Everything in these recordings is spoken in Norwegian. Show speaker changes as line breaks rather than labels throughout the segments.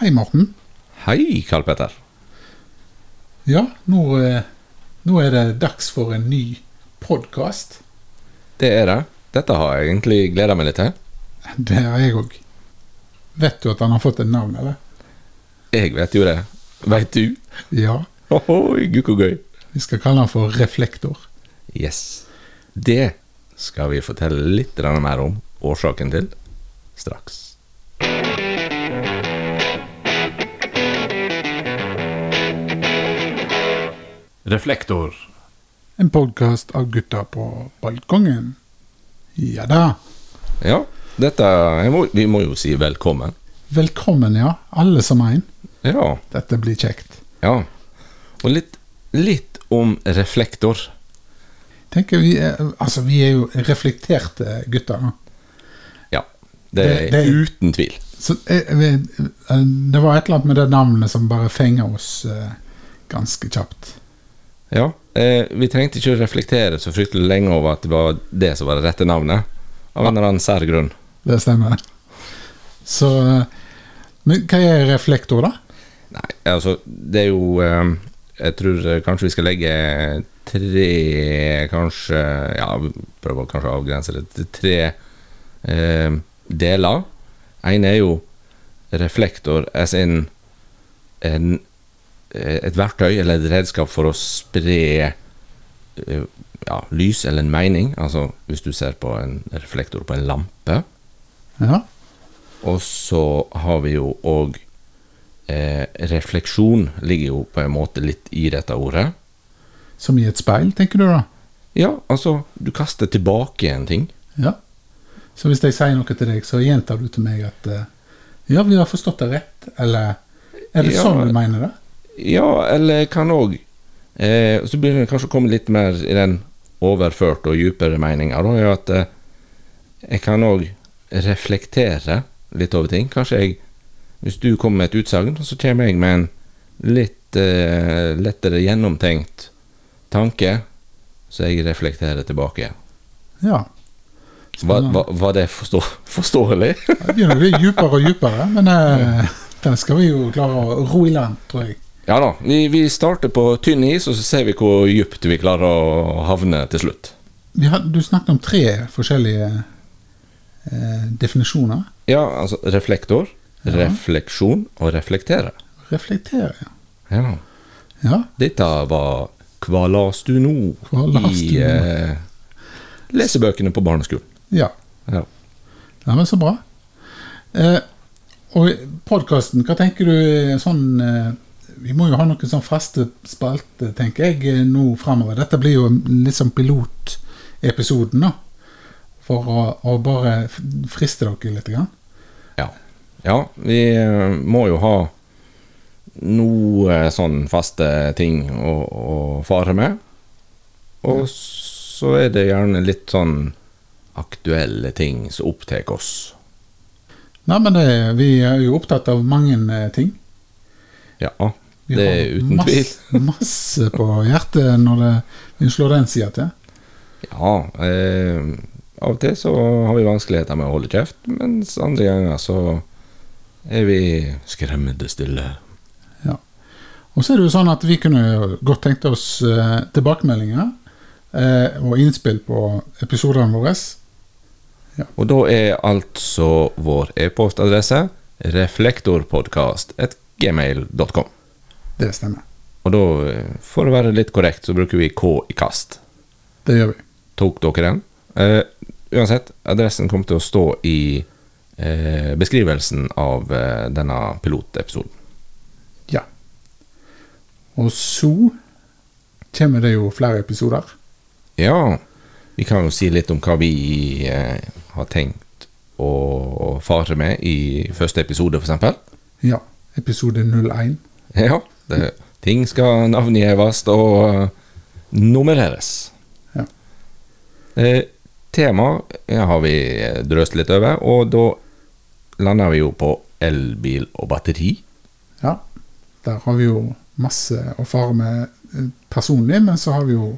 Hei, Morten.
Hei, Karl Petter.
Ja, nå, eh, nå er det dags for en ny podkast.
Det er det. Dette har jeg egentlig gleda meg litt til.
Det har jeg òg. Vet du at han har fått et navn, eller?
Jeg vet jo det. Veit du?
Ja.
Ohoi, gud, hvor gøy.
Vi skal kalle han for Reflektor.
Yes. Det skal vi fortelle litt grann mer om årsaken til straks.
Reflektor.
En podkast av gutta på balkongen. Ja da.
Ja, dette jeg må, Vi må jo si velkommen.
Velkommen, ja. Alle som en.
Ja.
Dette blir kjekt.
ja. Og litt, litt om reflektor.
Tenker vi, er, altså, vi er jo reflekterte gutter.
Ja. Det
Det-
er
det-
uten tvil.
Så eh, vi, eh, det var et eller annet med det navnet som bare fenger oss eh, ganske kjapt.
Ja, eh, vi trengte ikke å reflektere så fryktelig lenge over at det var det som var det rette navnet. Av en eller annen sær grunn.
Det stemmer. Så eh, Men hva er reflektor, da?
Nei, altså, det er jo eh, Jeg tror eh, kanskje vi skal legge tre Kanskje Ja, vi prøver å kanskje å avgrense det til tre eh, deler. En er jo reflektor as in en, eh, et verktøy eller et redskap for å spre eh, ja, lys eller en mening. Altså hvis du ser på en reflektor på en lampe.
Ja.
Og så har vi jo òg eh, Refleksjon ligger jo på en måte litt i dette ordet.
Som i et speil, tenker du da?
Ja, altså, du kaster tilbake en ting.
Ja. Så hvis jeg sier noe til deg, så gjentar du til meg at eh, Ja, vi har forstått det rett, eller Er det
Ja.
sånn du mener det?
Ja, eller kan òg eh, Så begynner det kanskje å komme litt mer i den overførte og dypere meninga, da, er jo at eh, jeg kan òg reflektere litt over ting. Kanskje jeg Hvis du kommer med et utsagn, så kommer jeg med en litt eh, lettere gjennomtenkt tanke, så jeg reflekterer tilbake.
Ja.
Var,
Mm.
var, var det forstå forståelig?
Det begynner å bli dypere og dypere, men eh, den skal vi jo klare å ro i land, tror jeg.
ja da. Vi, vi starter på tynn is, og så ser vi hvor dypt vi klarer å havne til slutt.
Vi har, du snakket om tre forskjellige eh, definisjoner.
Ja, altså reflektor, refleksjon og reflektere.
Reflektere. ja.
Ja.
Ja,
Dette var Hva las du nå?
Hva las du
I eh, lesebøkene på barneskolen.
ja.
Ja.
Ja, men så bra. Eh, og podkasten, hva tenker du eh, sånn eh, Vi må jo ha noen sånn faste spalte, tenker jeg, eh, nå framover. Dette blir jo litt sånn pilotepisoden, da. For å, å bare f- friste dere litt. Grann.
ja. ja vi eh, må jo ha noe sånn faste ting å, å fare med. Og så er det gjerne litt sånn aktuelle ting som opptar oss.
Nei, men det, vi er jo opptatt av mange eh, ting.
Ja,
Vi
det
har
er uten tvil.
masse, masse på hjertet når det, vi slår den sida til.
Ja. Eh, av og til så har vi vanskeligheter med å holde kjeft, mens andre ganger så er vi skremmende stille.
Og så er det jo sånn at vi kunne jo godt tenkt oss eh, tilbakemeldinger eh, og innspill på episodene våre.
Og da er altså vår e-postadresse reflektorpodkast.gmail.com.
Det stemmer.
Og da, eh, for å være litt korrekt, så bruker vi K i kast.
Det gjør vi.
Tok dere den? Eh, uansett, adressen kommer til å stå i eh, beskrivelsen av eh, denne pilotepisoden.
Ja. Og så kommer det jo flere episoder.
Ja, vi kan jo si litt om hva vi eh, har tenkt å fare med i første episode, f.eks.
Ja. Episode 01.
Ja, det, ting skal navngjeves og eh, nummereres.
Ja.
Eh, tema ja, har vi drøst litt over, og da lander vi jo på elbil og batteri.
Ja. Der har vi jo masse å fare med eh, personlig, men så har vi jo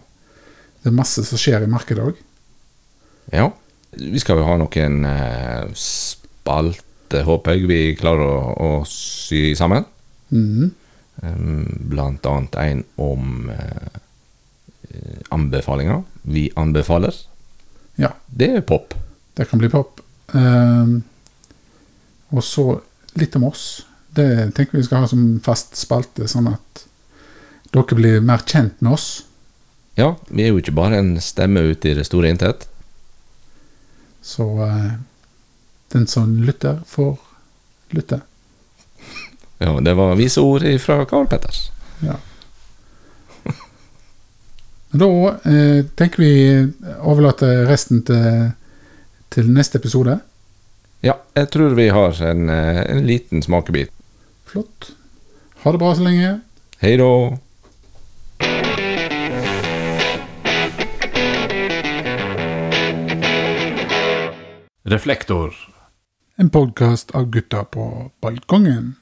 det er masse som skjer i markedet òg.
Ja. Vi skal jo ha noen eh, spalter eh, håper jeg vi klarer å, å sy sammen.
Mhm.
Um, Blant annet en om eh, eh, anbefalinger. Vi anbefaler.
Ja.
Det er pop.
Det kan bli pop. Ehm, og så litt om oss. Det tenker vi skal ha som fast spalte, sånn at dere blir mer kjent med oss.
Ja, vi er jo ikke bare en stemme ute i det store intet.
Så eh, den som lytter, får lytte.
Ja, det var vise ord fra Karl Petters.
Ja. Men Da eh, tenker vi overlate resten til, til neste episode.
Ja, jeg tror vi har en, eh, en liten smakebit.
Flott. Ha det bra så lenge.
Hei da!
Reflektor.
En podkast av gutta på balkongen.